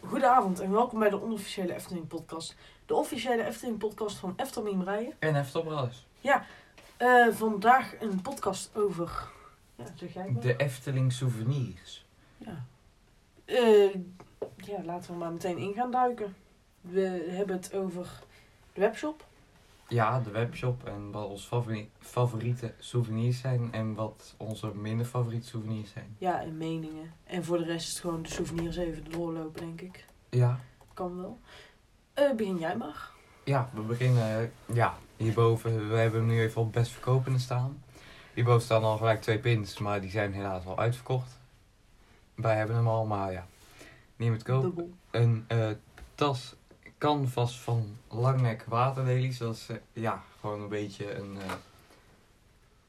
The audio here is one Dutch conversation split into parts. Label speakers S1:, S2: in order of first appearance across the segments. S1: Goedenavond en welkom bij de onofficiële Efteling podcast. De officiële Efteling podcast van Efteling Miemerijen.
S2: En even op alles.
S1: Eh, vandaag een podcast over... Ja, zeg jij het maar.
S2: De Efteling souvenirs.
S1: Ja. Eh, ja, laten we maar meteen in gaan duiken. We hebben het over de webshop.
S2: Ja, de webshop en wat onze favori- favoriete souvenirs zijn en wat onze minder favoriete souvenirs zijn.
S1: Ja, en meningen. En voor de rest is het gewoon de souvenirs even doorlopen, denk ik.
S2: Ja,
S1: Kan wel. Eh, begin jij maar.
S2: ja we beginnen eh, ja, hierboven. We hebben hem nu even op best verkopende staan. Hierboven staan al gelijk twee pins, maar die zijn helaas al uitverkocht. Wij hebben hem al, maar ja, niet meer te koop.
S1: Dubbel.
S2: een eh, tas canvas van langnek waterlelies. Dat is eh, ja, gewoon een beetje een eh,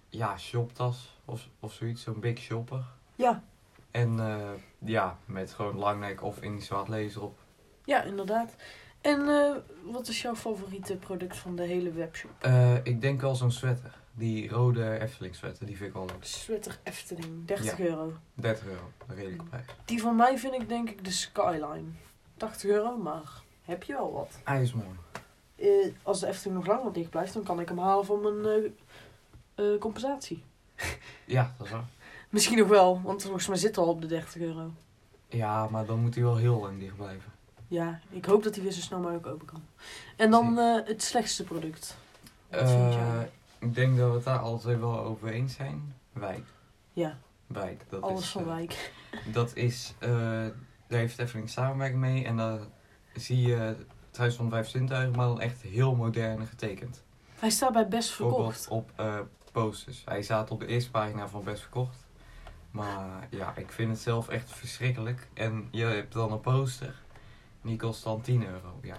S2: ja, shoptas of, of zoiets. Zo'n big shopper.
S1: Ja.
S2: En eh, ja, met gewoon langnek of Indische waterlelies op.
S1: Ja, inderdaad. En eh, wat is jouw favoriete product van de hele webshop?
S2: Eh, ik denk wel zo'n sweater. Die rode Efteling sweater, die vind ik wel leuk.
S1: Sweater Efteling, 30
S2: Ja.
S1: euro.
S2: 30 euro, een redelijke prijs.
S1: Die van mij vind ik denk ik de Skyline. 80 euro, maar heb je wel wat.
S2: Hij is mooi.
S1: Eh, als de Efteling nog langer dicht blijft, dan kan ik hem halen van mijn eh, eh, compensatie.
S2: Ja, dat is waar.
S1: Misschien nog wel, want volgens mij zit hij al op de 30 euro.
S2: Ja, maar dan moet hij wel heel lang dicht blijven.
S1: Ja, ik hoop dat hij weer zo snel mogelijk open kan. En dan eh, het slechtste product. Wat vind
S2: Eh,
S1: jij?
S2: ik denk dat we het daar alle twee wel over eens zijn. Wijk.
S1: Ja,
S2: Wijk. Dat
S1: alles
S2: is,
S1: van
S2: eh,
S1: Wijk.
S2: Dat is, eh, daar heeft Efteling samenwerking mee en daar zie je het Huis van Vijf Zintuigen, maar dan echt heel modern getekend.
S1: Hij staat bij best verkocht.
S2: Bijvoorbeeld op eh, posters. Hij staat op de eerste pagina van Best Verkocht. Maar ja, ik vind het zelf echt verschrikkelijk. En je hebt dan een poster, en die kost dan 10 euro. Ja,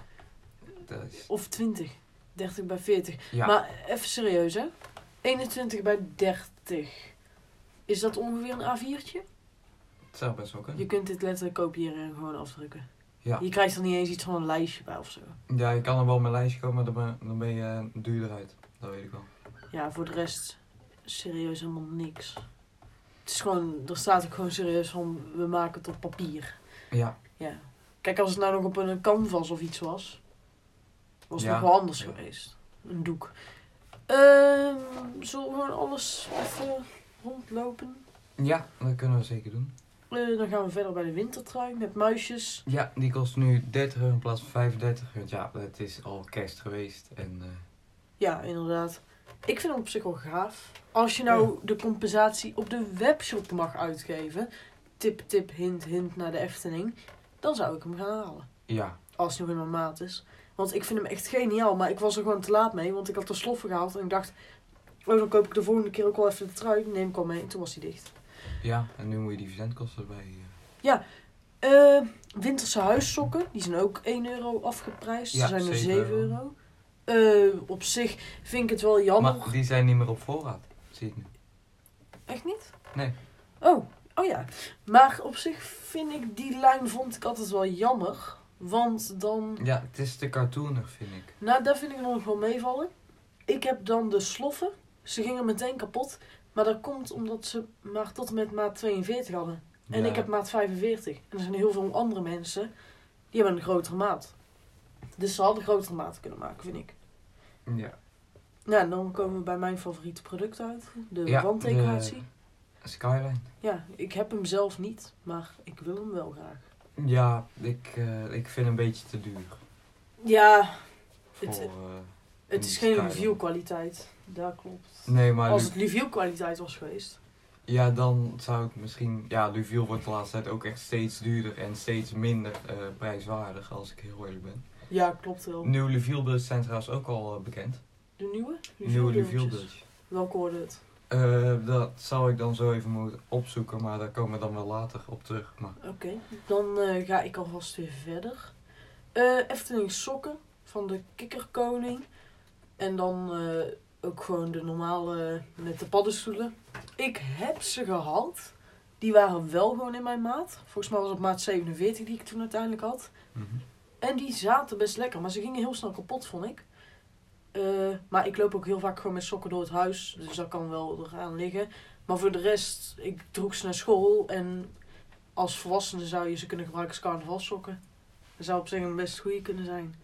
S2: dat is...
S1: Of 20. 30 bij 40.
S2: Ja,
S1: Maar even serieus, hè? 21 bij 30. Is dat ongeveer een A4'tje?
S2: het zou best wel
S1: Je
S2: kunnen.
S1: kunt dit letterlijk kopiëren en gewoon afdrukken.
S2: Ja.
S1: Je krijgt er niet eens iets van een lijstje bij of zo.
S2: Ja, je kan er wel met een lijstje komen, maar dan ben, dan ben je eh, duurder uit. Dat weet ik wel.
S1: Ja, voor de rest serieus helemaal niks. Het is gewoon, er staat ook gewoon serieus van, we maken het op papier.
S2: Ja,
S1: Ja. Kijk, als het nou nog op een canvas of iets was, was het
S2: Ja.
S1: nog wel anders
S2: Ja.
S1: geweest. Een doek. Ehm, zullen we gewoon alles even rondlopen?
S2: ja dat kunnen we zeker doen.
S1: Eh, dan gaan we verder bij de wintertrui met muisjes.
S2: Ja, die kost nu 30 euro in plaats van 35. Want ja, het is al kerst geweest. En eh,
S1: Ja, inderdaad. Ik vind het op zich wel gaaf. Als je nou de compensatie op de webshop mag uitgeven, tip, tip, hint, hint naar de Efteling, dan zou ik hem gaan halen.
S2: ja,
S1: Als hij nog in mijn maat is. Want ik vind hem echt geniaal, maar ik was er gewoon te laat mee, want ik had de sloffen gehaald en ik dacht, oh, dan koop ik de volgende keer ook wel even de trui, neem ik al mee. En toen was hij dicht.
S2: ja, en nu moet je die verzendkosten erbij. eh.
S1: Eh, winterse huissokken, die zijn ook 1 euro afgeprijsd.
S2: Ja,
S1: Ze zijn er
S2: 7
S1: 7 euro. Eh, op zich vind ik het wel jammer.
S2: Maar die zijn niet meer op voorraad. Zie ik nu.
S1: Echt niet?
S2: Nee.
S1: Oh, oh ja. Maar op zich vind ik die lijn vond ik altijd wel jammer. Want dan...
S2: Ja, het is te cartoonig, vind ik.
S1: Nou, daar vind ik nog wel meevallen. Ik heb dan de sloffen. Ze gingen meteen kapot. Maar dat komt omdat ze maar tot en met maat 42 hadden. En
S2: Ja,
S1: ik heb maat 45. En er zijn heel veel andere mensen die hebben een grotere maat. Dus ze hadden grotere maat kunnen maken, vind ik.
S2: Ja,
S1: Nou, en dan komen we bij mijn favoriete product uit. De
S2: Ja,
S1: wanddecoratie.
S2: Skyline.
S1: Ja, ik heb hem zelf niet, maar ik wil hem wel graag.
S2: Ja, ik, eh, ik vind een beetje te duur.
S1: Ja,
S2: Voor,
S1: Het-
S2: eh,
S1: het is
S2: Mm,
S1: geen
S2: Skyrim.
S1: reviewkwaliteit. Dat klopt.
S2: nee, maar
S1: Als
S2: Lu-
S1: het reviewkwaliteit was geweest.
S2: ja, dan zou ik misschien... Ja, Luviel wordt de laatste tijd ook echt steeds duurder en steeds minder eh, prijswaardig, als ik heel eerlijk ben.
S1: Ja, klopt wel.
S2: Nieuwe Luvielbus zijn trouwens ook al eh, bekend.
S1: De nieuwe?
S2: Nieuwe dus.
S1: Reviewdeeltjes.
S2: Luvielbus.
S1: Welke hoorde het?
S2: Eh, dat zal ik dan zo even moeten opzoeken, maar daar komen we dan wel later op terug. Maar
S1: Oké, dan eh, ga ik alvast weer verder. Eh Efteling sokken van de kikkerkoning. En dan eh, ook gewoon de normale met de paddenstoelen. Ik heb ze gehad. Die waren wel gewoon in mijn maat. Volgens mij was het maat 47 die ik toen uiteindelijk had.
S2: mhm.
S1: En die zaten best lekker, maar ze gingen heel snel kapot, vond ik. Eh, maar ik loop ook heel vaak gewoon met sokken door het huis, dus dat kan wel eraan liggen. Maar voor de rest, ik droeg ze naar school en als volwassene zou je ze kunnen gebruiken als carnavalsokken. Dan Dat zou op zich een best goede kunnen zijn.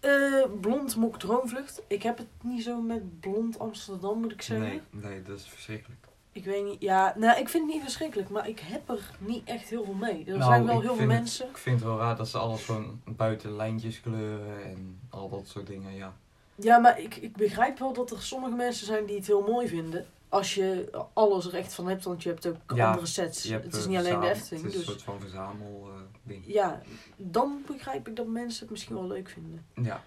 S1: Eh, blond mok droomvlucht. Ik heb het niet zo met blond Amsterdam, moet ik zeggen.
S2: Nee, nee, dat is verschrikkelijk.
S1: Ik weet niet. Ja, nou, ik vind het niet verschrikkelijk, maar ik heb er niet echt heel veel mee. Er
S2: Nou,
S1: zijn wel
S2: ik
S1: heel veel
S2: vind het-
S1: mensen.
S2: Ik vind het wel raar dat ze alles gewoon buiten lijntjes kleuren en al dat soort dingen, ja.
S1: Ja, maar ik, ik begrijp wel dat er sommige mensen zijn die het heel mooi vinden. Als je alles er echt van hebt, want je hebt ook
S2: Ja,
S1: andere sets.
S2: Je hebt,
S1: Het is
S2: eh,
S1: niet alleen de
S2: verzameld-
S1: Efteling.
S2: Het is
S1: Dus
S2: een soort van eh, verzamelding.
S1: ja, dan begrijp ik dat mensen het misschien wel leuk vinden.
S2: ja,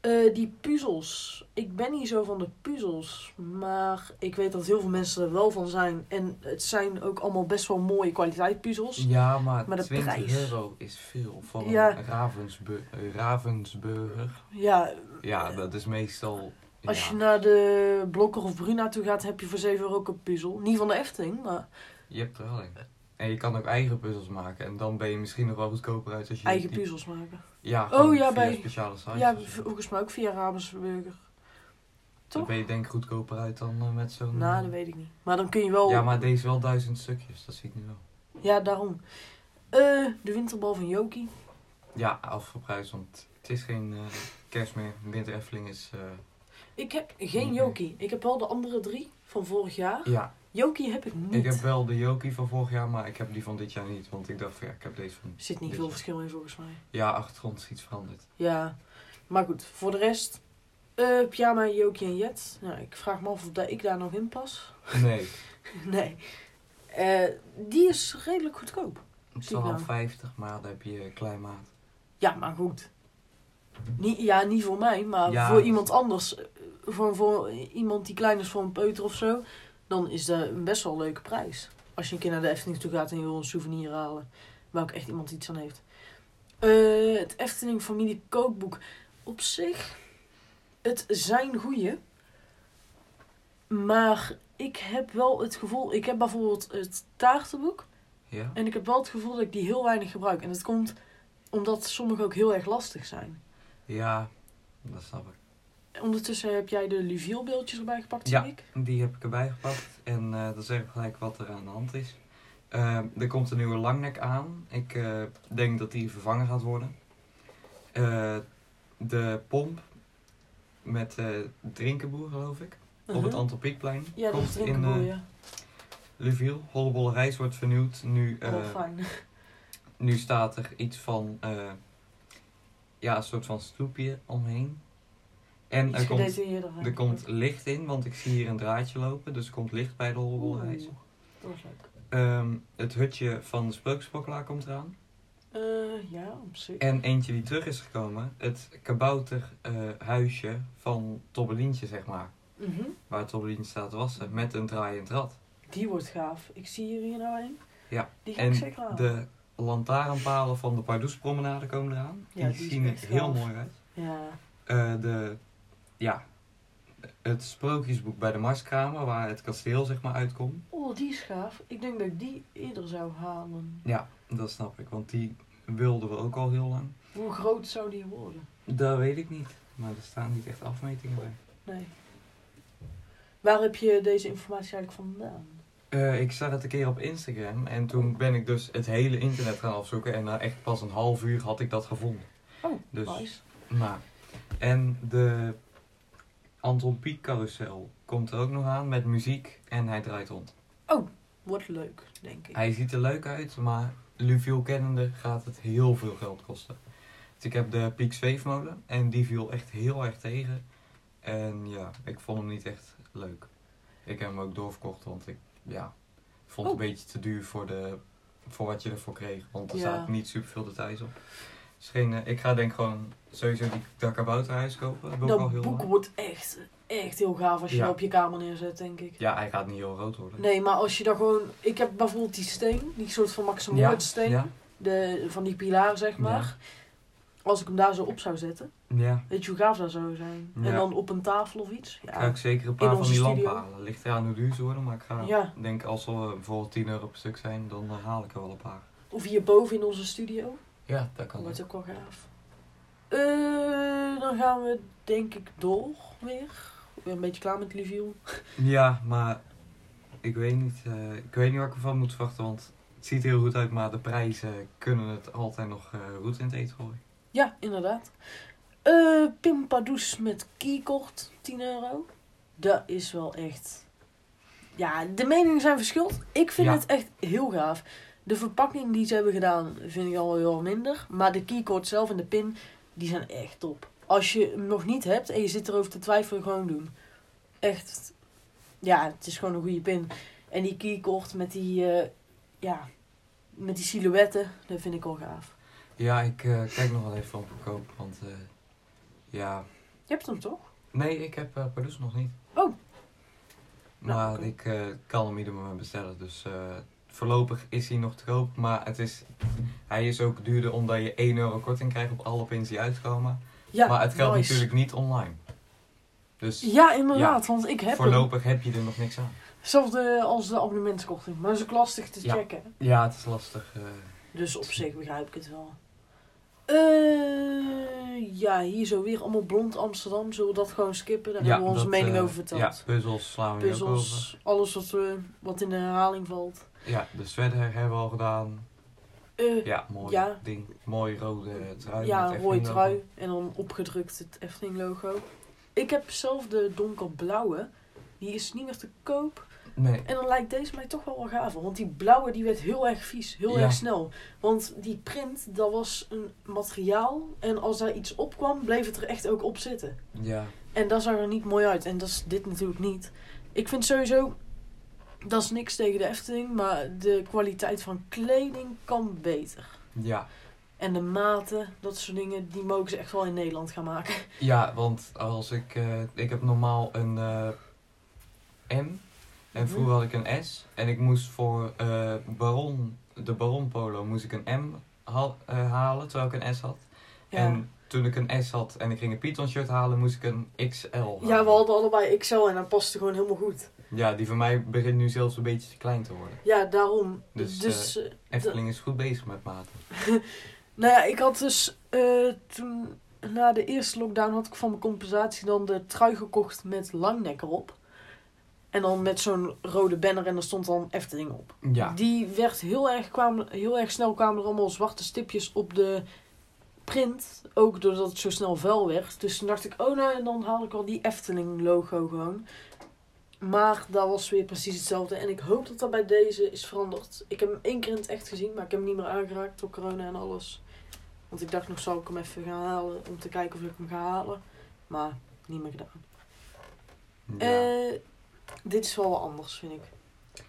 S1: Eh, die puzzels. Ik ben niet zo van de puzzels. Maar ik weet dat heel veel mensen er wel van zijn. En het zijn ook allemaal best wel mooie kwaliteit puzzels.
S2: Ja, maar,
S1: Maar de
S2: 20
S1: prijs.
S2: euro is veel voor een
S1: Ja.
S2: Ravensbu- eh, Ravensburger.
S1: Ja,
S2: Ja, dat is meestal...
S1: als
S2: ja.
S1: je naar de Blokker of Bruna toe gaat, heb je voor 7 euro ook een puzzel. Niet van de Efteling, maar
S2: Je hebt er wel een. En je kan ook eigen puzzels maken. En dan ben je misschien nog wel goedkoper uit als je...
S1: eigen
S2: die-
S1: puzzels maken.
S2: Ja, gewoon
S1: Oh, ja,
S2: via
S1: bij-
S2: speciale sites.
S1: Ja,
S2: of zo.
S1: volgens mij ook via Ravensburger.
S2: Dan
S1: toch?
S2: ben je denk ik goedkoper uit dan eh, met zo'n...
S1: Nou, dat weet ik niet. Maar dan kun je oh. wel...
S2: Ja, maar deze wel duizend stukjes. Dat zie ik nu wel.
S1: Ja, daarom. Eh, de winterbal van Joki.
S2: Ja, afgeprijsd, want het is geen eh, kerst meer. Winter Efteling is... eh,
S1: Ik heb geen
S2: Oké.
S1: Joki. Ik heb wel de andere drie van vorig jaar.
S2: ja,
S1: Joki heb ik Oh, niet.
S2: ik heb wel de Jokie van vorig jaar, maar ik heb die van dit jaar niet. Want ik dacht van, ja, ik heb deze van...
S1: Er zit niet
S2: dit
S1: veel
S2: jaar.
S1: verschil in volgens mij.
S2: Ja, achtergrond is iets veranderd.
S1: Ja, maar goed, voor de rest. eh, pyjama, Jokie en Jet. Nou, ik vraag me af of dat ik daar nog in pas.
S2: Nee,
S1: nee. Eh, die is redelijk goedkoop.
S2: het is
S1: Zie ik
S2: al
S1: nou.
S2: 50, maar dan heb je eh, klein maat.
S1: Ja, maar goed. Niet, ja, niet voor mij, maar
S2: Ja.
S1: voor iemand anders. eh, Voor, voor iemand die klein is voor een peuter of zo. Dan is dat een best wel leuke prijs. Als je een keer naar de Efteling toe gaat en je wil een souvenir halen. Waar ook echt iemand iets aan heeft. Eh, het Efteling Familie Kookboek. Op zich, het zijn goeie. Maar ik heb wel het gevoel... Ik heb bijvoorbeeld het taartenboek.
S2: Ja?
S1: En ik heb wel het gevoel dat ik die heel weinig gebruik. En dat komt omdat sommige ook heel erg lastig zijn.
S2: Ja, dat snap ik.
S1: Ondertussen heb jij de Luvielbeeldjes erbij gepakt,
S2: Ja.
S1: zie ik.
S2: Die heb ik erbij gepakt en eh dan zeg ik gelijk wat er aan de hand is. Eh, er komt een nieuwe langnek aan. Ik eh, denk dat die vervangen gaat worden. Eh, de pomp met eh drinkenboer, geloof ik, op het
S1: Mhm.
S2: Anton Pieckplein
S1: Ja, dat is
S2: komt in
S1: drinkenboer,
S2: eh
S1: ja.
S2: Leviel. Hollebolle Reis wordt vernieuwd. Nu eh,
S1: Wel Oh, fijn.
S2: Nu staat er iets van, eh, ja, een soort van stoepje omheen. En
S1: Iets
S2: er komt,
S1: gedetailleerder.
S2: er
S1: eigenlijk.
S2: komt licht in, want ik zie hier een draadje lopen, dus er komt licht bij de
S1: Oeh,
S2: holbolreis.
S1: Dat was leuk.
S2: Ehm het hutje van de sprookjesbokkelaar komt eraan.
S1: Eh, ja, op zich.
S2: En eentje die terug is gekomen, het kabouterhuisje huisje van Tobbelientje, zeg maar.
S1: Mhm.
S2: Waar Tobbelientje staat te wassen, met een draaiend rad.
S1: Die wordt gaaf. Ik zie hier hier nou een.
S2: Ja,
S1: Die ga ik
S2: En
S1: zeker halen.
S2: de lantaarnpalen van de Pardoespromenade komen eraan.
S1: Ja,
S2: die,
S1: die is
S2: zien er
S1: echt
S2: heel
S1: gaaf.
S2: mooi uit.
S1: Ja.
S2: Eh, de, ja, het sprookjesboek bij de Marskramer, waar het kasteel zeg maar uitkomt.
S1: Oh, die is gaaf. Ik denk dat ik die eerder zou halen.
S2: Ja, dat snap ik, want die wilden we ook al heel lang.
S1: Hoe groot zou die worden?
S2: Dat weet ik niet, maar er staan niet echt afmetingen bij.
S1: Nee. Waar heb je deze informatie eigenlijk vandaan?
S2: Eh, ik zag het een keer op Instagram en toen ben ik dus het hele internet gaan opzoeken en na echt pas een half uur had ik dat gevonden.
S1: Oh,
S2: Dus-
S1: nice.
S2: Maar, en de Anton Pieck carousel komt er ook nog aan met muziek en hij draait rond.
S1: Wordt leuk, denk ik.
S2: Hij ziet er leuk uit, maar Luviel kennende gaat het heel veel geld kosten. Dus ik heb de Piek zweefmolen en die viel echt heel erg tegen. En ja, ik vond hem niet echt leuk. Ik heb hem ook doorverkocht, want ik ja, vond het
S1: Oh.
S2: een beetje te duur voor, de, voor wat je ervoor kreeg. Want er
S1: Ja.
S2: staat niet superveel details op. Dus geen, eh, ik ga denk gewoon sowieso die dat kabouterhuis kopen. Dat wil ik al
S1: Dat
S2: heel
S1: boek
S2: lang.
S1: wordt echt, echt heel gaaf als je
S2: Ja.
S1: dat op je kamer neerzet, denk ik.
S2: Ja, hij gaat niet heel rood worden.
S1: Nee, maar als je daar gewoon... Ik heb bijvoorbeeld die steen, die soort van Max
S2: Ja,
S1: Moritz steen.
S2: Ja,
S1: De, van die pilaar, zeg maar. Als ik hem daar zo op zou zetten,
S2: ja.
S1: weet je hoe gaaf dat zou zijn.
S2: Ja.
S1: En dan op een tafel of iets.
S2: ga
S1: Ja,
S2: ik zeker een
S1: In
S2: paar van
S1: onze
S2: die
S1: studio.
S2: lampen halen. Ligt eraan hoe duur ze worden, maar ik ga
S1: Ja.
S2: denk als we bijvoorbeeld 10 euro per stuk zijn, dan eh, haal ik er wel een paar.
S1: Of hierboven in onze studio.
S2: Ja, dat
S1: Dat
S2: kan.
S1: wordt ook wel gaaf. Eh, dan gaan we denk ik door weer. Ik ben een beetje klaar met review.
S2: Ja, maar ik weet niet, eh, ik weet niet wat ik ervan moet verwachten, want Het ziet er heel goed uit, maar de prijzen kunnen het altijd nog eh roet in het eten gooien.
S1: Ja, inderdaad. Eh Pimpadoes met keycord, 10 euro. Dat is wel echt... Ja, de meningen zijn verschillend. Ik vind
S2: Ja.
S1: het echt heel gaaf. De verpakking die ze hebben gedaan vind ik al heel minder. Maar de keycord zelf en de pin, die zijn echt top. Als je hem nog niet hebt en je zit erover te twijfelen, gewoon doen. Echt, ja, het is gewoon een goede pin. En die keycord met die, eh, ja, met die silhouetten, dat vind ik al gaaf.
S2: Ja, ik eh, kijk nog wel even van goedkoop, want eh, ja...
S1: Je hebt hem toch?
S2: Nee, ik heb eh Pardoes nog niet.
S1: Oh.
S2: Maar
S1: Nou, oké.
S2: ik eh, kan hem ieder moment bestellen, dus eh, voorlopig is hij nog te koop. Maar het is, hij is ook duurder omdat je 1 euro korting krijgt op alle pins die uitkomen.
S1: Ja,
S2: maar het geldt
S1: nice.
S2: natuurlijk niet online. Dus
S1: Ja, inderdaad, want ik heb hem.
S2: voorlopig heb je er nog niks aan.
S1: Hetzelfde als de abonnementskorting, maar dat is ook lastig te
S2: Ja.
S1: checken. hè.
S2: Ja, het is lastig. eh.
S1: Dus op zich begrijp ik het wel. Eh, ja, hier zo weer allemaal blond Amsterdam. Zullen we dat gewoon skippen? Daar hebben we onze
S2: dat,
S1: mening
S2: eh,
S1: over verteld.
S2: Ja, puzzels slaan we nu ook over.
S1: Puzzels, alles wat, we, wat in de herhaling valt.
S2: Ja, de sweater hebben we al gedaan.
S1: Eh,
S2: Ja, mooi
S1: Ja.
S2: ding. Mooi rode trui.
S1: ja,
S2: met echt
S1: rode
S2: een logo.
S1: trui en dan opgedrukt het Efteling logo. Ik heb zelf de donkerblauwe. Die is niet meer te koop.
S2: Nee,
S1: En dan lijkt deze mij toch wel wel gaaf. Want die blauwe die werd heel erg vies, heel
S2: Ja.
S1: erg snel. Want die print, dat was een materiaal. En als daar iets op kwam, bleef het er echt ook op zitten.
S2: ja.
S1: En dat zag er niet mooi uit. En dat is dit natuurlijk niet. Ik vind sowieso, dat is niks tegen de Efteling. Maar de kwaliteit van kleding kan beter.
S2: Ja.
S1: En de maten, dat soort dingen, die mogen ze echt wel in Nederland gaan maken.
S2: Ja, want als ik, eh, ik heb normaal een eh, M en vroeger had ik een S en ik moest voor eh, Baron, de Baron Polo moest ik een M ha- eh, halen terwijl ik een S had.
S1: Ja.
S2: En toen ik een S had en ik ging een Python shirt halen moest ik een XL halen.
S1: ja, we hadden allebei XL en dat paste gewoon helemaal goed.
S2: Ja, die voor mij begint nu zelfs een beetje te klein te worden.
S1: Ja, daarom.
S2: Dus,
S1: Dus, eh,
S2: Efteling is goed bezig met maten.
S1: Nou ja, ik had dus eh, toen na de eerste lockdown had ik van mijn compensatie dan de trui gekocht met langnek erop. En dan met zo'n rode banner en daar stond dan Efteling op.
S2: Ja,
S1: Die werd heel erg, kwamen, heel erg snel kwamen er allemaal zwarte stipjes op de print. Ook doordat het zo snel vuil werd. Dus toen dacht ik, oh nou, en dan haal ik al die Efteling logo gewoon. Maar dat was weer precies hetzelfde. En ik hoop dat dat bij deze is veranderd. Ik heb hem één keer in het echt gezien, maar ik heb hem niet meer aangeraakt door corona en alles. Want ik dacht nog, zal ik hem even gaan halen om te kijken of ik hem ga halen. Maar niet meer gedaan.
S2: ja.
S1: Eh, dit is wel wat anders, vind ik.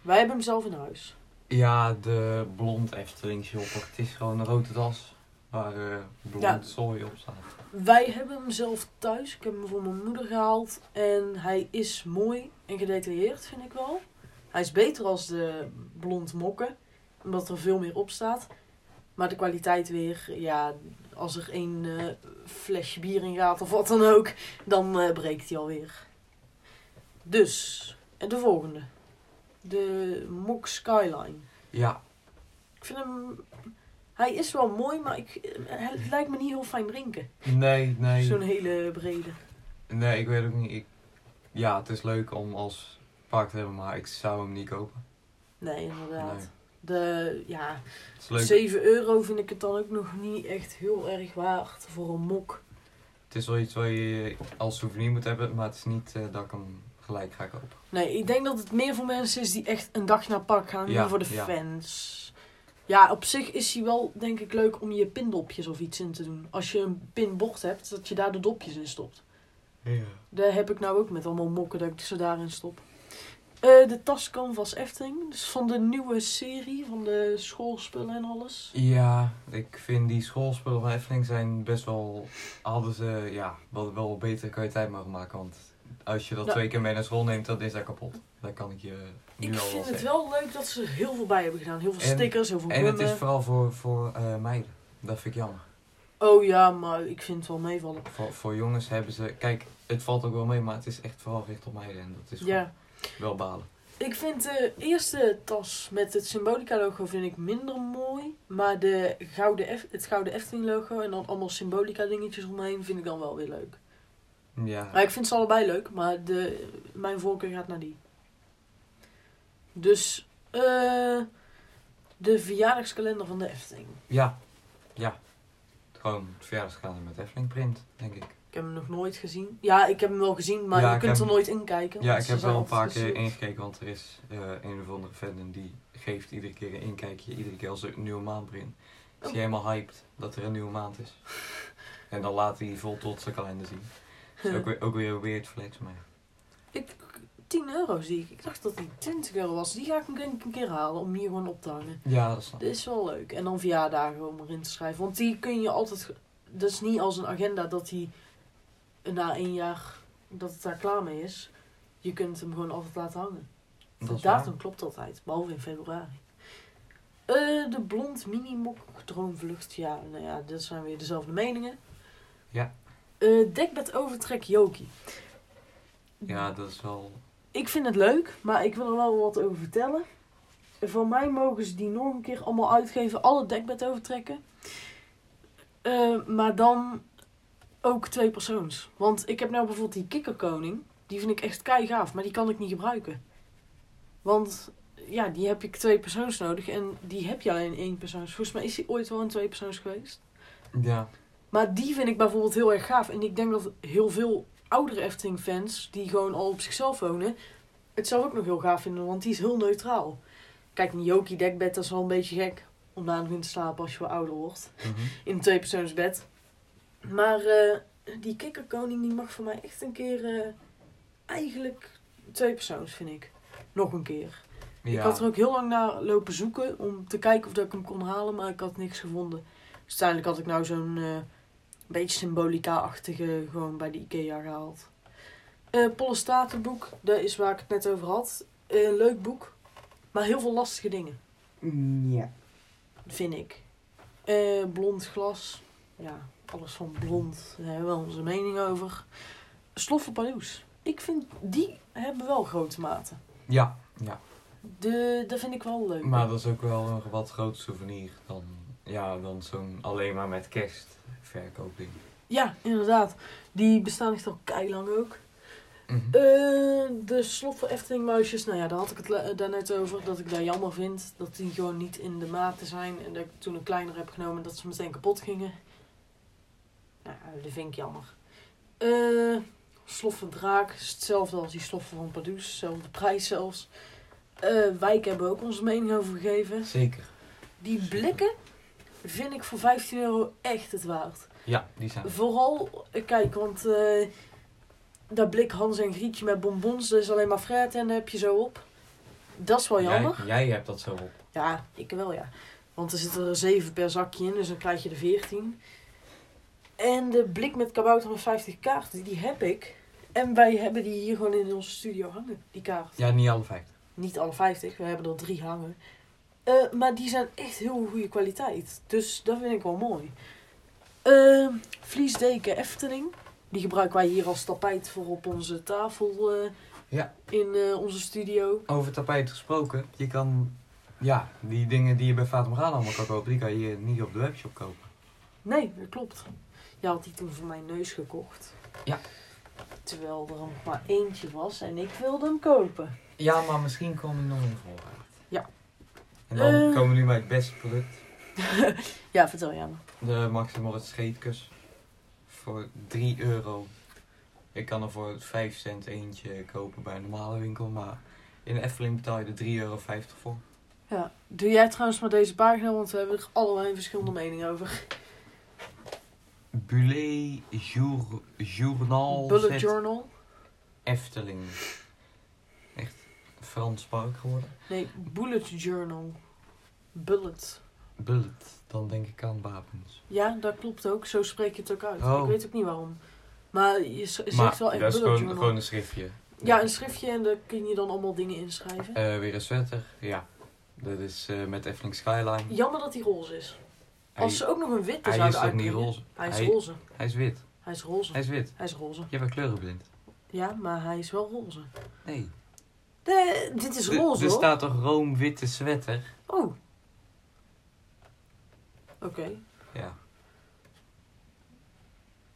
S1: Wij hebben hem zelf in huis.
S2: ja de blond Efteling shopper. Het is gewoon een rode tas waar eh, blond
S1: Ja.
S2: zooi op staat.
S1: Wij hebben hem zelf thuis. Ik heb hem voor mijn moeder gehaald. En hij is mooi en gedetailleerd, vind ik wel. Hij is beter als de blond mokken, omdat er veel meer op staat. Maar de kwaliteit weer, ja, als er één eh, flesje bier in gaat of wat dan ook, dan eh, breekt hij alweer. Dus, en de volgende. De Mok Skyline.
S2: Ja,
S1: Ik vind hem... Hij is wel mooi, maar ik, eh, het lijkt me niet heel fijn drinken.
S2: Nee,
S1: Zo'n
S2: nee.
S1: hele brede.
S2: Nee, ik weet ook niet. Ik... Ja, het is leuk om als park te hebben, maar ik zou hem niet kopen.
S1: Nee, inderdaad.
S2: Nee.
S1: De, ja,
S2: Het is leuk.
S1: 7 euro vind ik het dan ook nog niet echt heel erg waard voor een mok.
S2: Het is wel iets wat je als souvenir moet hebben, maar het is niet eh, dat ik hem gelijk ga kopen.
S1: Nee, ik denk dat het meer voor mensen is die echt een dag naar park gaan.
S2: Ja,
S1: dan voor de
S2: ja.
S1: fans. Ja, op zich is hij wel denk ik leuk om je pindopjes of iets in te doen. Als je een pinbord hebt, dat je daar de dopjes in stopt.
S2: Ja.
S1: Daar heb ik nou ook met allemaal mokken dat ik ze daarin stop. Eh, de tas Canvas Efteling. Dus van de nieuwe serie, van de schoolspullen en alles.
S2: Ja, ik vind die schoolspullen van Efteling zijn best wel... Hadden ze, ja, wel, wel betere kwaliteit mogen maken, want als je dat
S1: Nou.
S2: twee keer mee naar school neemt, dan is dat kapot. Dat kan ik je nu
S1: ik
S2: al wel
S1: vind het
S2: zeggen.
S1: wel leuk dat ze er heel veel bij hebben gedaan. Heel veel
S2: En-
S1: stickers, heel veel
S2: En het
S1: bloemen.
S2: is vooral voor, voor eh, meiden. Dat vind ik jammer.
S1: Oh ja, maar ik vind het wel meevallen.
S2: Voor, voor jongens hebben ze. Kijk, het valt ook wel mee, maar het is echt vooral gericht op meiden. En dat is
S1: Ja.
S2: gewoon wel balen.
S1: Ik vind de eerste tas met het Symbolica logo vind ik minder mooi. Maar de gouden Ef- het gouden Efteling logo en dan allemaal Symbolica dingetjes omheen vind ik dan wel weer leuk.
S2: Ja.
S1: Maar ik vind ze allebei leuk, maar de, mijn voorkeur gaat naar die. Dus, eh De verjaardagskalender van de Efteling.
S2: Ja, ja. Gewoon het verjaardagskalender met Efteling print, denk ik.
S1: Ik heb hem nog nooit gezien. Ja, ik heb hem wel gezien, maar
S2: Ja,
S1: je
S2: ik
S1: kunt
S2: heb-
S1: er nooit in kijken.
S2: Ja,
S1: want
S2: ik
S1: ze
S2: heb
S1: zijn
S2: wel een paar
S1: altijd
S2: keer
S1: verstopt.
S2: ingekeken, want er is eh, een of andere fan die geeft iedere keer een inkijkje, iedere keer als er een nieuwe maand begint. Is
S1: Oh.
S2: hij helemaal hyped dat er een nieuwe maand is. En dan laat hij vol trots zijn kalender zien. Is ook weer, ook weer een weird flex, maar...
S1: Ik, 10 euro zie ik. Ik dacht dat die 20 euro was. Die ga ik hem denk ik een keer halen om hier gewoon op te hangen.
S2: Ja, dat snap ik.
S1: Dit is wel leuk. En dan verjaardagen om erin te schrijven. Want die kun je altijd. ge- Dat is niet als een agenda dat die na één jaar dat het daar klaar mee is. Je kunt hem gewoon altijd laten hangen.
S2: Dat
S1: de
S2: is waar.
S1: datum klopt altijd, behalve in februari. Eh, de blond minimok droomvlucht. Ja, nou ja, dat zijn weer dezelfde meningen.
S2: Ja.
S1: Eh, dekbed overtrek Joki.
S2: Ja, dat is wel...
S1: Ik vind het leuk, maar ik wil er wel wat over vertellen. Van mij mogen ze die nog een keer allemaal uitgeven, alle dekbed overtrekken. Eh, maar dan ook twee persoons. Want ik heb nou bijvoorbeeld die kikkerkoning. Die vind ik echt kei gaaf, maar die kan ik niet gebruiken. Want ja, die heb ik twee persoons nodig en die heb jij in één persoons. Volgens mij is die ooit wel in twee persoons geweest.
S2: Ja,
S1: Maar die vind ik bijvoorbeeld heel erg gaaf. En ik denk dat heel veel oudere Efteling-fans, die gewoon al op zichzelf wonen, het zelf ook nog heel gaaf vinden, want die is heel neutraal. Kijk, een Yoki dekbed, dat is wel een beetje gek om daar nog in te slapen als je wat ouder wordt.
S2: mhm.
S1: In een tweepersoonsbed. Maar eh, die kikkerkoning, die mag voor mij echt een keer eh, eigenlijk twee persoons, vind ik. Nog een keer. Ik
S2: ja.
S1: had er ook heel lang naar lopen zoeken om te kijken of dat ik hem kon halen, maar ik had niks gevonden. Dus uiteindelijk had ik nou zo'n eh, beetje symbolica-achtige gewoon bij de Ikea gehaald. Eh Pollestatenboek, dat is waar ik het net over had. Eh, Een leuk boek, maar heel veel lastige dingen,
S3: Ja.
S1: vind ik. Eh, blond glas, ja, alles van blond, daar hebben we onze mening over. Sloffenpaloes, ik vind, die hebben wel grote maten.
S2: ja, ja.
S1: De, dat vind ik wel leuk.
S2: Maar dat is ook wel een wat groot souvenir dan, ja, dan zo'n alleen maar met kerst verkoopding.
S1: Ja, inderdaad. Die bestaan echt al keilang ook.
S2: Mhm.
S1: Eh, de slot voor Efteling muisjes, nou ja, daar had ik het le- eh, daarnet over. Dat ik daar jammer vind dat die gewoon niet in de maten zijn. En dat ik toen een kleiner heb genomen dat ze meteen kapot gingen. Nou, dat vind ik jammer. Eh slof van Draak is hetzelfde als die sloffen van Pardoes. Hetzelfde prijs zelfs. Eh Wijk hebben we ook onze mening over gegeven.
S2: Zeker.
S1: Die blikken vind ik voor 15 euro echt het waard.
S2: Ja, die zijn.
S1: Vooral, eh, kijk, want eh, dat blik Hans en Grietje met bonbons, dat is alleen maar fruit en dat heb je zo op. Dat is wel jammer.
S2: Jij, jij hebt dat zo op.
S1: Ja, ik wel ja. Want er zitten er 7 per zakje in, dus dan krijg je er 14. En de blik met kabouter met 50 kaarten, die heb ik. En wij hebben die hier gewoon in onze studio hangen, die kaart.
S2: Ja, niet alle vijf.
S1: Niet alle 50, we hebben er drie hangen. Eh, maar die zijn echt heel goede kwaliteit. Dus dat vind ik wel mooi. Eh, vliesdeken Efteling. Die gebruiken wij hier als tapijt voor op onze tafel eh,
S2: Ja.
S1: in eh, onze studio.
S2: Over tapijt gesproken, je kan, ja, die dingen die je bij Fatima Gaan allemaal kan kopen, die kan je hier niet op de webshop kopen.
S1: Nee, dat klopt. Je had die toen voor mijn neus gekocht.
S2: Ja.
S1: Terwijl er nog maar eentje was en ik wilde hem kopen.
S2: Ja, maar misschien komen die nog in voorraad.
S1: Ja.
S2: En dan
S1: Eh.
S2: komen we nu bij het beste product,
S1: Ja, vertel jij maar.
S2: de Max en Moritz scheetkus. Voor 3 euro. Ik kan er voor 5 cent eentje kopen bij een normale winkel, maar in de Efteling betaal je er 3,50 euro voor.
S1: Ja. Doe jij trouwens maar deze pagina, want we hebben er allebei een verschillende mening over.
S2: Bullet jour, Journal
S1: Bullet
S2: zet
S1: Journal.
S2: Efteling. Echt een Frans park geworden.
S1: Nee, bullet journal. Bullet.
S2: Bullet, dan denk ik aan wapens.
S1: Ja, dat klopt ook. Zo spreek je het ook uit.
S2: Oh.
S1: Ik weet ook niet waarom. Maar je s- zegt wel echt
S2: dat
S1: bullet
S2: is gewoon,
S1: journal.
S2: gewoon een schriftje.
S1: Ja, een schriftje en daar kun je dan allemaal dingen inschrijven.
S2: Eh, weer een sweater, ja. Dat is eh, met Efteling Skyline.
S1: Jammer dat hij roze is.
S2: Hij,
S1: Als ze ook nog een witte
S2: hij is
S1: zouden
S2: toch niet
S1: uitbrengen-
S2: roze?
S1: Hij is
S2: Hij-
S1: roze.
S2: Hij is wit.
S1: Hij is roze.
S2: Hij is wit.
S1: Hij is roze.
S2: Je bent kleurenblind.
S1: Ja, maar hij is wel roze.
S2: Nee.
S1: Nee, dit is
S2: Er-
S1: roze
S2: Er
S1: hoor.
S2: staat toch room witte sweater?
S1: Oh. Oké.
S2: Ja.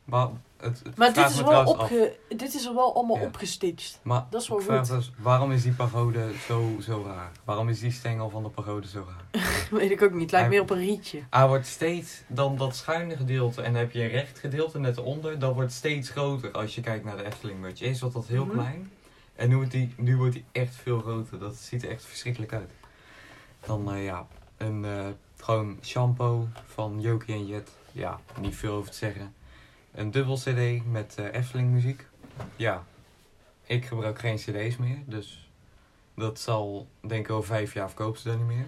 S2: Maar, het, het
S1: Maar dit
S2: vraagt
S1: is,
S2: me
S1: wel
S2: trouwens af.
S1: opge... dit is er wel allemaal
S2: Ja.
S1: opgestitcht.
S2: Maar
S1: Dat is wel
S2: ik vraag
S1: goed.
S2: me dus, waarom is die pagode zo, zo raar? Waarom is die stengel van de pagode zo raar?
S1: Weet ik ook niet. Lijkt
S2: Hij-
S1: meer op een rietje.
S2: Hij wordt steeds, dan dat schuine gedeelte en dan heb je een recht gedeelte net onder, dat wordt steeds groter als je kijkt naar de Efteling merch. Eerst was dat heel
S1: Mhm.
S2: klein en nu wordt, die, nu wordt die echt veel groter. Dat ziet er echt verschrikkelijk uit. Dan eh, ja, een, eh, gewoon shampoo van Jokie en Jet. Ja, niet veel over te zeggen. Een dubbel cd met eh, Efteling muziek. Ja, ik gebruik geen cd's meer, dus dat zal denk ik over vijf jaar verkopen ze dat niet meer.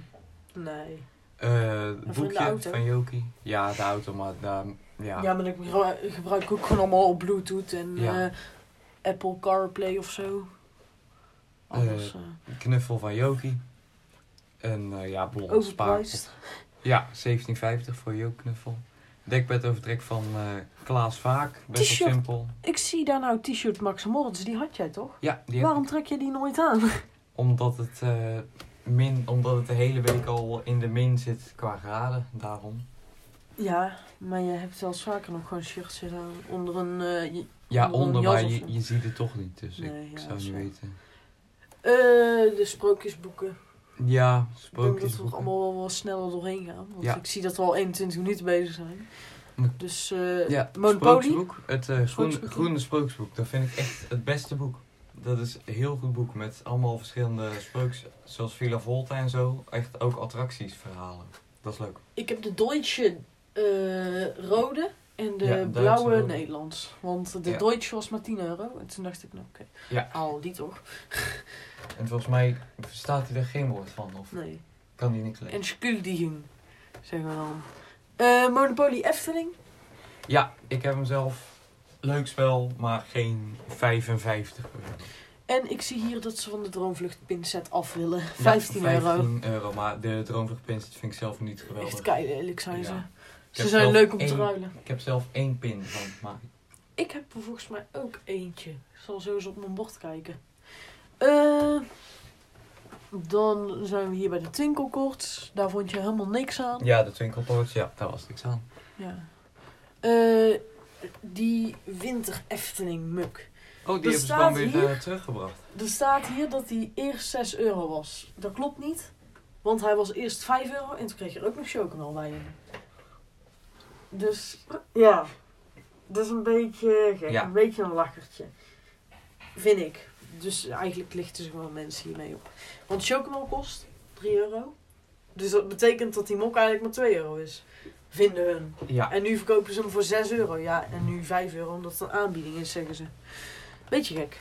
S1: Nee.
S2: Eh,
S1: de
S2: het boekje
S1: auto?
S2: van Joki. Ja, de auto, maar daar, ja.
S1: Ja, maar ik gebru- gebruik ook gewoon allemaal op Bluetooth en
S2: Ja.
S1: eh, Apple CarPlay of zo. Anders. eh,
S2: Knuffel van Joki. Een eh, ja, blond
S1: overpriced.
S2: spaarpot. Ja, 17,50 voor Joki knuffel. Dekbed overtrek van eh, Klaas Vaak. Best wel
S1: T-shirt.
S2: simpel.
S1: Ik zie daar nou t-shirt Max Morris. Die had jij toch?
S2: Ja, die heb
S1: Waarom
S2: ik.
S1: trek je die nooit aan?
S2: Omdat het, eh, min, omdat het de hele week al in de min zit qua graden. Daarom.
S1: Ja, maar je hebt wel eens vaker nog gewoon shirts zitten aan onder een... eh, je-
S2: Ja,
S1: Onder een
S2: onder,
S1: jas
S2: maar
S1: of
S2: je,
S1: zo.
S2: je ziet het toch niet. Dus
S1: Nee,
S2: ik
S1: ja,
S2: zou
S1: dat
S2: niet
S1: is waar.
S2: weten.
S1: eh, de sprookjesboeken.
S2: Ja,
S1: Ik denk dat we er
S2: sprookjesboeken.
S1: allemaal wel, wel sneller doorheen gaan. Want
S2: Ja.
S1: ik zie dat we al 21 minuten bezig zijn.
S2: Hm.
S1: Dus eh
S2: Ja,
S1: Monopoly.
S2: Sprookjesboek. Het eh, groene,
S1: Sprookjesboek.
S2: groene sprookjesboek. Dat vind ik echt het beste boek. Dat is een heel goed boek met allemaal verschillende sprookjes. Zoals Villa Volta en zo. Echt ook attracties, verhalen. Dat is leuk.
S1: Ik heb de Deutsche eh, rode en de
S2: Ja, Duitse
S1: blauwe
S2: rode.
S1: Nederlands. Want de
S2: Ja.
S1: Deutsche was maar 10 euro. En toen dacht ik, nou oké,
S2: Ja.
S1: al die toch?
S2: En volgens mij verstaat hij er geen woord van. Of
S1: Nee.
S2: kan hij niks lezen.
S1: En Schuldigen, zeggen we dan. Eh, Monopoly Efteling.
S2: Ja, ik heb hem zelf. Leuk spel, maar geen 55 euro.
S1: En ik zie hier dat ze van de Droomvlucht pinset af willen.
S2: Ja,
S1: 15, euro.
S2: 15 euro, maar de Droomvluchtpins vind ik zelf niet geweldig.
S1: Echt kei lelijk zijn
S2: Ja.
S1: ze.
S2: Ik heb
S1: Ze zijn
S2: zelf
S1: leuk om te
S2: één-
S1: ruilen.
S2: Ik heb zelf één pin van, maar
S1: Ik heb er volgens mij ook eentje. Ik zal zo eens op mijn bord kijken. Eh, dan zijn we hier bij de Twinkelkoorts. Daar vond je helemaal niks aan.
S2: Ja, de twinkelpoort, ja, daar was niks aan.
S1: Ja. Eh, die winter Efteling muk.
S2: Oh, die
S1: Er
S2: hebben ze
S1: staat
S2: dan weer
S1: hier-
S2: eh, teruggebracht.
S1: Er staat hier dat die eerst 6 euro was. Dat klopt niet. Want hij was eerst 5 euro en toen kreeg je er ook nog chocomel bij in. Dus ja, dat is een beetje gek.
S2: Ja.
S1: Een beetje een lakkertje. Vind ik. Dus eigenlijk lichten ze gewoon mensen hiermee op. Want chocomel kost 3 euro. Dus dat betekent dat die mok eigenlijk maar 2 euro is. Vinden hun.
S2: Ja,
S1: En nu verkopen ze hem voor 6 euro. Ja, en nu 5 euro omdat het een aanbieding is, zeggen ze. Beetje gek.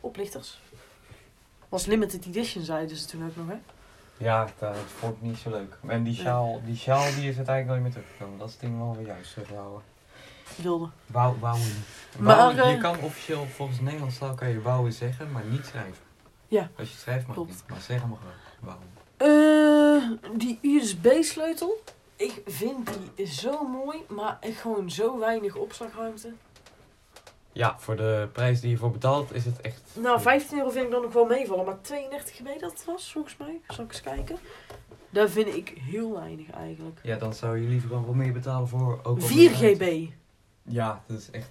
S1: Oplichters. Was limited edition, zeiden ze toen ook nog, hè?
S2: ja dat vond ik niet zo leuk. En die
S1: Nee.
S2: sjaal, die, sjaal die is uiteindelijk nooit meer teruggekomen. Dat is het ding wel weer juist terughouden.
S1: Wilde.
S2: Wauw, wauw.
S1: Maar,
S2: je
S1: eh,
S2: kan officieel volgens Nederlands taal kan je wauwen zeggen, maar niet schrijven.
S1: Ja.
S2: Als je het schrijft mag het
S1: Klopt.
S2: niet, maar zeggen mag wel. Wauw.
S1: Eh, die USB-sleutel. Ik vind die zo mooi, maar echt gewoon zo weinig opslagruimte.
S2: Ja, voor de prijs die je voor betaalt is het echt...
S1: Nou, 15 euro vind ik dan nog wel meevallen, maar 32 GB dat was volgens mij. Zal ik eens kijken? Daar vind ik heel weinig eigenlijk.
S2: Ja, dan zou je liever dan wat meer betalen voor... Ook wat
S1: 4
S2: meer ruimte.
S1: GB.
S2: Ja, dat is echt...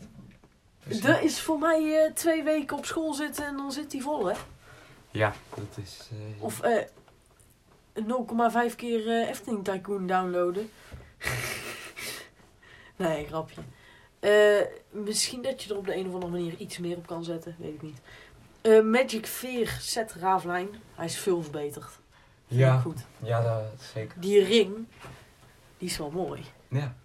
S1: Dat is voor mij eh, twee weken op school zitten en dan zit die vol, hè?
S2: Ja, dat is... eh,
S1: Of eh, 0,5 keer eh, Efteling Tycoon downloaden. nee, grapje. Eh, misschien dat je er op de een of andere manier iets meer op kan zetten, weet ik niet. Eh, Magic Veer zet Raaflijn. Hij is veel verbeterd. Vind ik
S2: ja,
S1: Goed.
S2: ja, dat zeker.
S1: Die ring, die is wel mooi.
S2: Ja.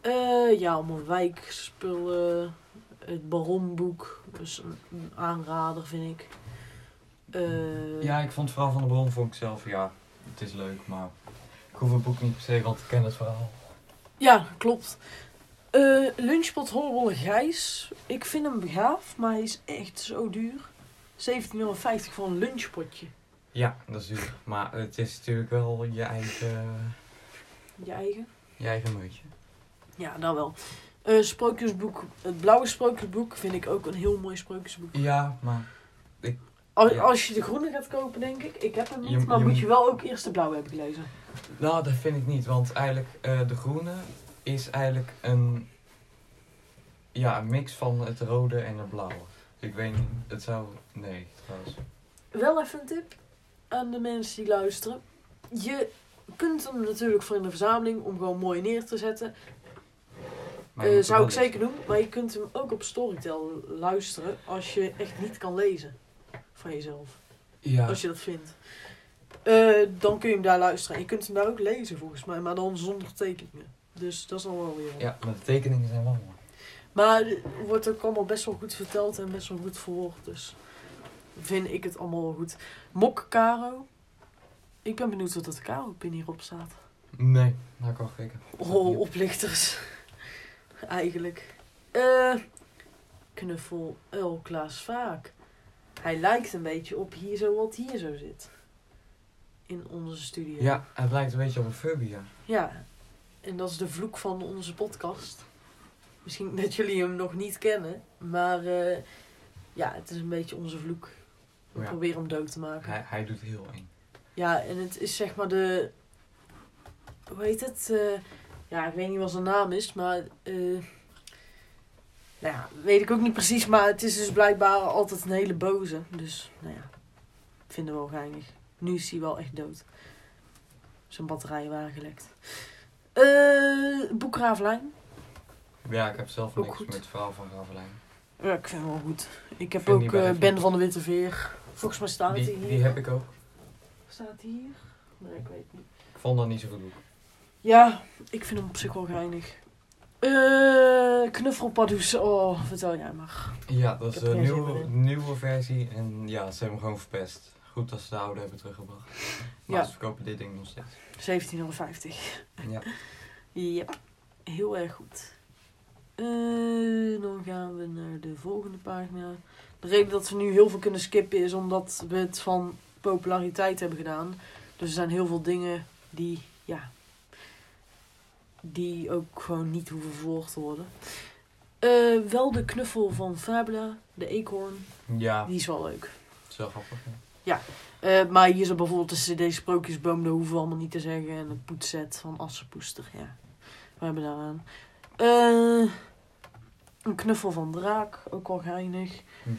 S1: Eh, ja, allemaal wijkspullen. Het baronboek. Dus een, een aanrader, vind ik. Eh,
S2: Ja, ik vond het verhaal van de bron vond ik zelf, ja, het is leuk, maar ik hoef het boek niet per se, want ik ken het verhaal.
S1: ja, klopt. Eh Lunchpot Horrible Gijs. Ik vind hem gaaf, maar hij is echt zo duur. 17,50 euro voor een lunchpotje.
S2: Ja, dat is duur. Maar het is natuurlijk wel je eigen,
S1: Je eigen?
S2: je eigen meutje.
S1: Ja, nou wel. Eh, sprookjesboek. Het blauwe sprookjesboek vind ik ook een heel mooi sprookjesboek.
S2: Ja, maar
S1: Als,
S2: Ja.
S1: als je de groene gaat kopen, denk ik. Ik heb hem niet,
S2: Je-
S1: maar
S2: je
S1: moet
S2: moet-
S1: je wel ook eerst de blauwe hebben gelezen.
S2: nou, dat vind ik niet, want eigenlijk eh, de groene is eigenlijk een Ja, een mix van het rode en het blauwe. Ik weet niet, het zou... Nee, trouwens.
S1: Wel even een tip aan de mensen die luisteren. Je kunt hem natuurlijk voor in de verzameling om gewoon mooi neer te zetten.
S2: Maar je
S1: Eh,
S2: moet er
S1: zou
S2: wel
S1: ik zeker doen. Maar je kunt hem ook op Storytel luisteren als je echt niet kan lezen van jezelf.
S2: iets- Ja,
S1: Als je dat vindt. Eh, dan kun je hem daar luisteren. En je kunt hem daar ook lezen volgens mij, maar dan zonder tekeningen. Dus dat is dan wel weer. wat.
S2: ja, maar de tekeningen zijn wel mooi.
S1: Maar er wordt ook allemaal best wel goed verteld en best wel goed verwoord. Dus vind ik het allemaal wel goed. Mok Caro. Ik ben benieuwd wat dat Caro-pin hierop staat.
S2: Nee, daar kan ik wel gekeken.
S1: Oh, oplichters. Eigenlijk. Eh, knuffel El Klaas Vaak. Hij lijkt een beetje op hier zo wat hier zo zit. In onze studio.
S2: Ja, het lijkt een beetje op een fobia.
S1: Ja. En dat is de vloek van onze podcast. Misschien dat jullie hem nog niet kennen. Maar eh, ja, het is een beetje onze vloek. We
S2: Ja.
S1: proberen hem dood te maken.
S2: Hij, hij doet heel eng.
S1: Ja, en het is zeg maar de. Hoe heet het? Eh, ja, ik weet niet wat zijn naam is, maar. eh, nou ja, weet ik ook niet precies, maar het is dus blijkbaar altijd een hele boze. Dus, nou ja, vinden we wel geinig. Nu is hij wel echt dood. Zijn batterijen waren gelekt. Eh Boek Ravelijn.
S2: Ja, ik heb zelf
S1: Ook
S2: niks
S1: goed.
S2: met het verhaal van Ravelijn.
S1: Ja, ik vind hem wel goed. Ik heb
S2: Vind die
S1: ook
S2: wel
S1: eh,
S2: even-
S1: Ben van de Witte Veer. Volgens mij staat hij
S2: Die,
S1: hier.
S2: die heb ik ook.
S1: Staat hij hier? Nee, ik weet het niet.
S2: Ik vond dat niet zo goed. boek.
S1: Ja, ik vind hem op zich wel geinig. Eh knuffelpadoes, oh, vertel jij maar.
S2: Ja, dat
S1: Ik
S2: is
S1: heb
S2: de
S1: geen zin
S2: nieuwe,
S1: meer
S2: nieuwe versie. En ja, ze hebben hem gewoon verpest. Goed dat ze de oude hebben teruggebracht. Maar
S1: Ja.
S2: ze verkopen dit ding nog steeds.
S1: 1750.
S2: Ja.
S1: Ja, heel erg goed. Eh, dan gaan we naar de volgende pagina. De reden dat we nu heel veel kunnen skippen is omdat we het van populariteit hebben gedaan. Dus er zijn heel veel dingen die, ja, die ook gewoon niet hoeven vervolgd te worden. Eh, wel de knuffel van Fabula, de eekhoorn.
S2: Ja,
S1: Die is wel leuk.
S2: het is wel grappig. hè.
S1: Eh, maar hier zo bijvoorbeeld de CD Sprookjesboom, dat hoeven we allemaal niet te zeggen. En het poetset van Assenpoester, ja. We hebben daaraan. Eh, een knuffel van Draak, ook al geinig.
S2: Hm.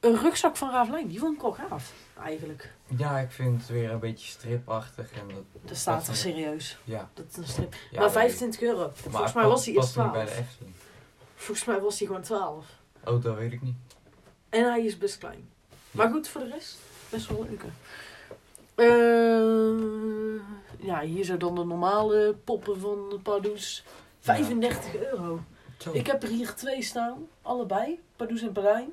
S1: Een rugzak van Ravelijn, die vond ik wel gaaf, eigenlijk.
S2: Ja, ik vind het weer een beetje stripachtig. En dat,
S1: Dat staat
S2: Wat
S1: er
S2: een-
S1: serieus.
S2: ja.
S1: Dat is een strip.
S2: ja
S1: maar
S2: dat-
S1: 25 euro.
S2: maar
S1: Volgens
S2: het
S1: mij
S2: past-
S1: was hij eerst
S2: past niet bij
S1: 12.
S2: de Efteling.
S1: Volgens mij was hij gewoon 12.
S2: Oh, dat weet ik niet.
S1: En hij is best klein. Maar goed, voor de rest, best wel leuke. Eh, ja, hier zijn dan de normale poppen van de Pardoes. 35 euro.
S2: Zo.
S1: Ik heb er hier twee staan, allebei. Pardoes en Berlijn.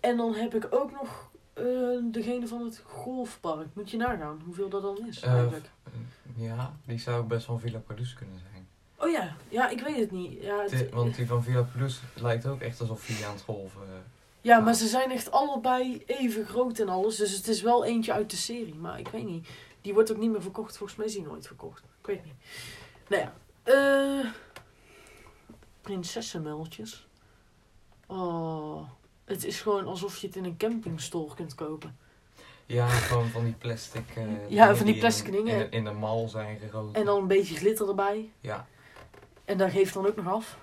S1: En dan heb ik ook nog eh, degene van het golfpark. Moet je nagaan hoeveel dat dan is
S2: Eh,
S1: eigenlijk.
S2: Ja, die zou ook best van Villa Produce kunnen zijn.
S1: Oh ja, ja, ik weet het niet. Ja, het-
S2: Ti- Want die van Villa Produce lijkt ook echt alsof hij aan het golven... eh,
S1: ja, maar ze zijn echt allebei even groot en alles. Dus het is wel eentje uit de serie. Maar ik weet niet. Die wordt ook niet meer verkocht. Volgens mij is die nooit verkocht. Ik weet niet. Nou ja. eh prinsessenmeltjes. Oh. Het is gewoon alsof je het in een campingstore kunt kopen.
S2: Ja, gewoon van die plastic... eh,
S1: van die plastic
S2: in-
S1: dingen.
S2: In, de- in de mal zijn gegoten.
S1: En dan een beetje glitter erbij.
S2: Ja,
S1: En dat geeft dan ook nog af.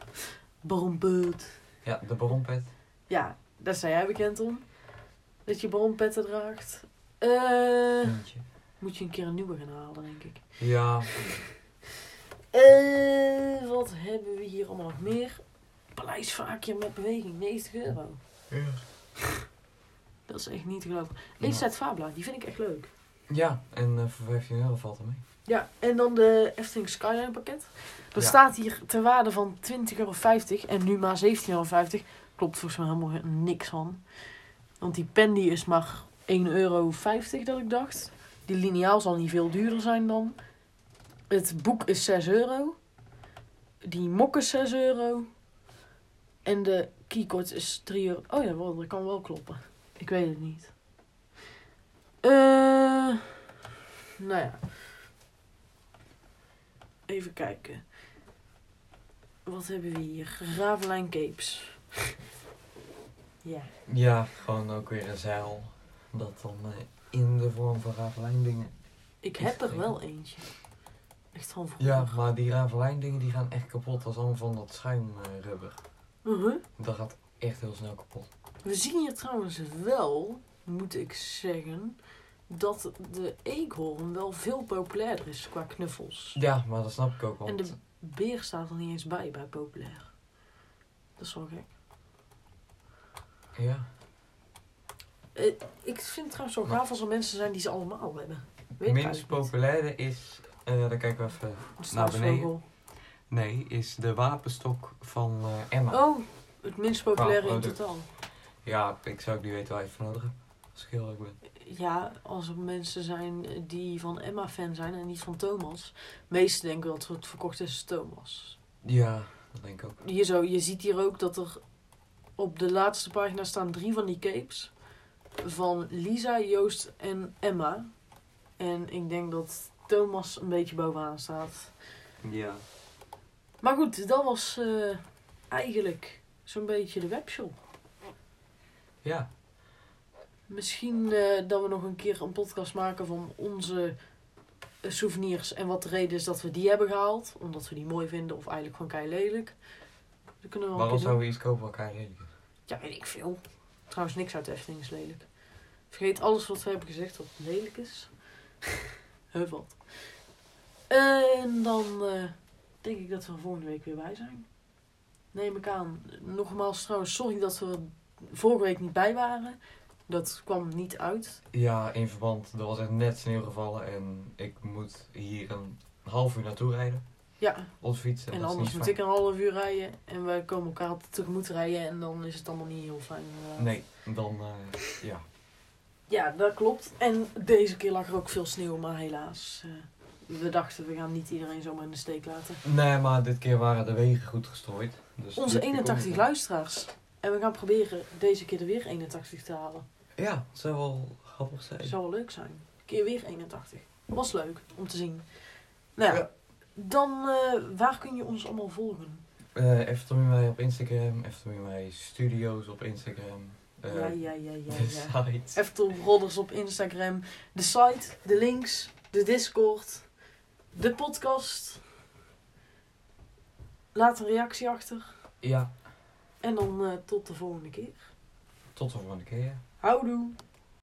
S1: Baronbeut.
S2: ja de baronpet.
S1: Ja, daar zijn jij bekend om. Dat je baronpetten draagt. Eh,
S2: Eentje.
S1: moet je een keer een nieuwe gaan halen, denk ik.
S2: Ja,
S1: Eh, wat hebben we hier allemaal nog meer? Paleisvaakje met beweging, 90 euro. Dat is echt niet te geloven. Inside Fabla, die vind ik echt leuk.
S2: ja en eh, voor 15 euro valt er mee.
S1: Ja, en dan de Efteling Skyline pakket. Dat
S2: Ja.
S1: staat hier ter waarde van 20,50 euro en nu maar 17,50 euro. Klopt volgens mij helemaal niks van. Want die pen die is maar 1,50 euro dat ik dacht. Die liniaal zal niet veel duurder zijn dan. Het boek is 6 euro. Die mok is 6 euro. En de keycord is 3 euro. Oh ja, wel, dat kan wel kloppen. Ik weet het niet. Eh, nou ja. Even kijken. Wat hebben we hier? Ravelijn Capes. ja.
S2: Ja, gewoon ook weer een zeil. Dat dan eh, in de vorm van Ravelijndingen.
S1: Ik
S2: Is
S1: heb er
S2: het
S1: wel eentje. Echt van vroeger.
S2: Ja, maar die Ravelijndingen die gaan echt kapot. Dat is allemaal van dat schuimrubber.
S1: Mhm.
S2: eh, Dat gaat echt heel snel kapot.
S1: We zien hier trouwens wel, moet ik zeggen, dat de eekhoorn wel veel populairder is qua knuffels.
S2: Ja, maar dat snap ik ook.
S1: En
S2: Want
S1: de beer staat er niet eens bij bij populair. Dat is wel gek.
S2: ja,
S1: Eh, Ik vind het trouwens wel
S2: Maar-
S1: gaaf als er mensen zijn die ze allemaal hebben. Weet ik
S2: minst
S1: eigenlijk niet.
S2: populaire is, eh daar kijken we even.
S1: De
S2: naar beneden.
S1: struisvogel.
S2: Nee, is de wapenstok van eh, Emma.
S1: Oh, het minst populaire
S2: Qua
S1: in
S2: product.
S1: totaal.
S2: Ja, ik zou ook niet weten waar je het voor nodig hebt. Als ik heel erg ben.
S1: Ja, als er mensen zijn die van Emma fan zijn en niet van Thomas. Meesten denken dat het verkocht is als Thomas.
S2: Ja, dat denk ik ook.
S1: Hier zo, je ziet hier ook dat er op de laatste pagina staan drie van die capes. Van Lisa, Joost en Emma. En ik denk dat Thomas een beetje bovenaan staat.
S2: Ja.
S1: Maar goed, dat was eh, eigenlijk zo'n beetje de webshop.
S2: Ja,
S1: Misschien eh, dat we nog een keer een podcast maken van onze eh, souvenirs en wat de reden is dat we die hebben gehaald. Omdat we die mooi vinden of eigenlijk gewoon kei lelijk. Dat kunnen we wel een keer
S2: waarom
S1: doen.
S2: zouden we iets kopen waar elkaar reden?
S1: Ja, weet ik veel. Trouwens, niks uit de Efteling is lelijk. Vergeet alles wat we hebben gezegd wat lelijk is. Heuf wat. En dan eh, denk ik dat we er volgende week weer bij zijn. Neem ik aan. Nogmaals trouwens, sorry dat we er vorige week niet bij waren. Dat kwam niet uit.
S2: Ja, in verband. Er was echt net sneeuw gevallen en ik moet hier een half uur naartoe rijden
S1: Ja,
S2: op de fiets.
S1: en
S2: dat is
S1: anders
S2: niet
S1: moet
S2: fijn.
S1: ik een half uur rijden. En wij komen elkaar tegemoet rijden. En dan is het allemaal niet heel fijn. inderdaad.
S2: Nee, dan eh, ja.
S1: Ja, dat klopt. En deze keer lag er ook veel sneeuw, maar helaas. eh, we dachten, we gaan niet iedereen zomaar in de steek laten.
S2: Nee, maar dit keer waren de wegen goed gestrooid. Dus
S1: Onze
S2: dit keer kon
S1: 81
S2: het.
S1: luisteraars. En we gaan proberen deze keer er weer 81 te halen.
S2: Ja, het zou wel grappig zijn.
S1: Zou wel leuk zijn. Een keer weer 81. Was leuk om te zien. Nou,
S2: Ja.
S1: dan eh, waar kun je ons allemaal volgen?
S2: Eh Eftel in mij op Instagram, Eftel in mij studio's op Instagram. eh,
S1: ja, ja, ja, ja,
S2: de
S1: ja.
S2: site.
S1: Eftel Brothers op Instagram. De site, de links, de Discord, de podcast. Laat een reactie achter.
S2: Ja,
S1: En dan eh, tot de volgende keer.
S2: tot de volgende keer.
S1: Houdoe!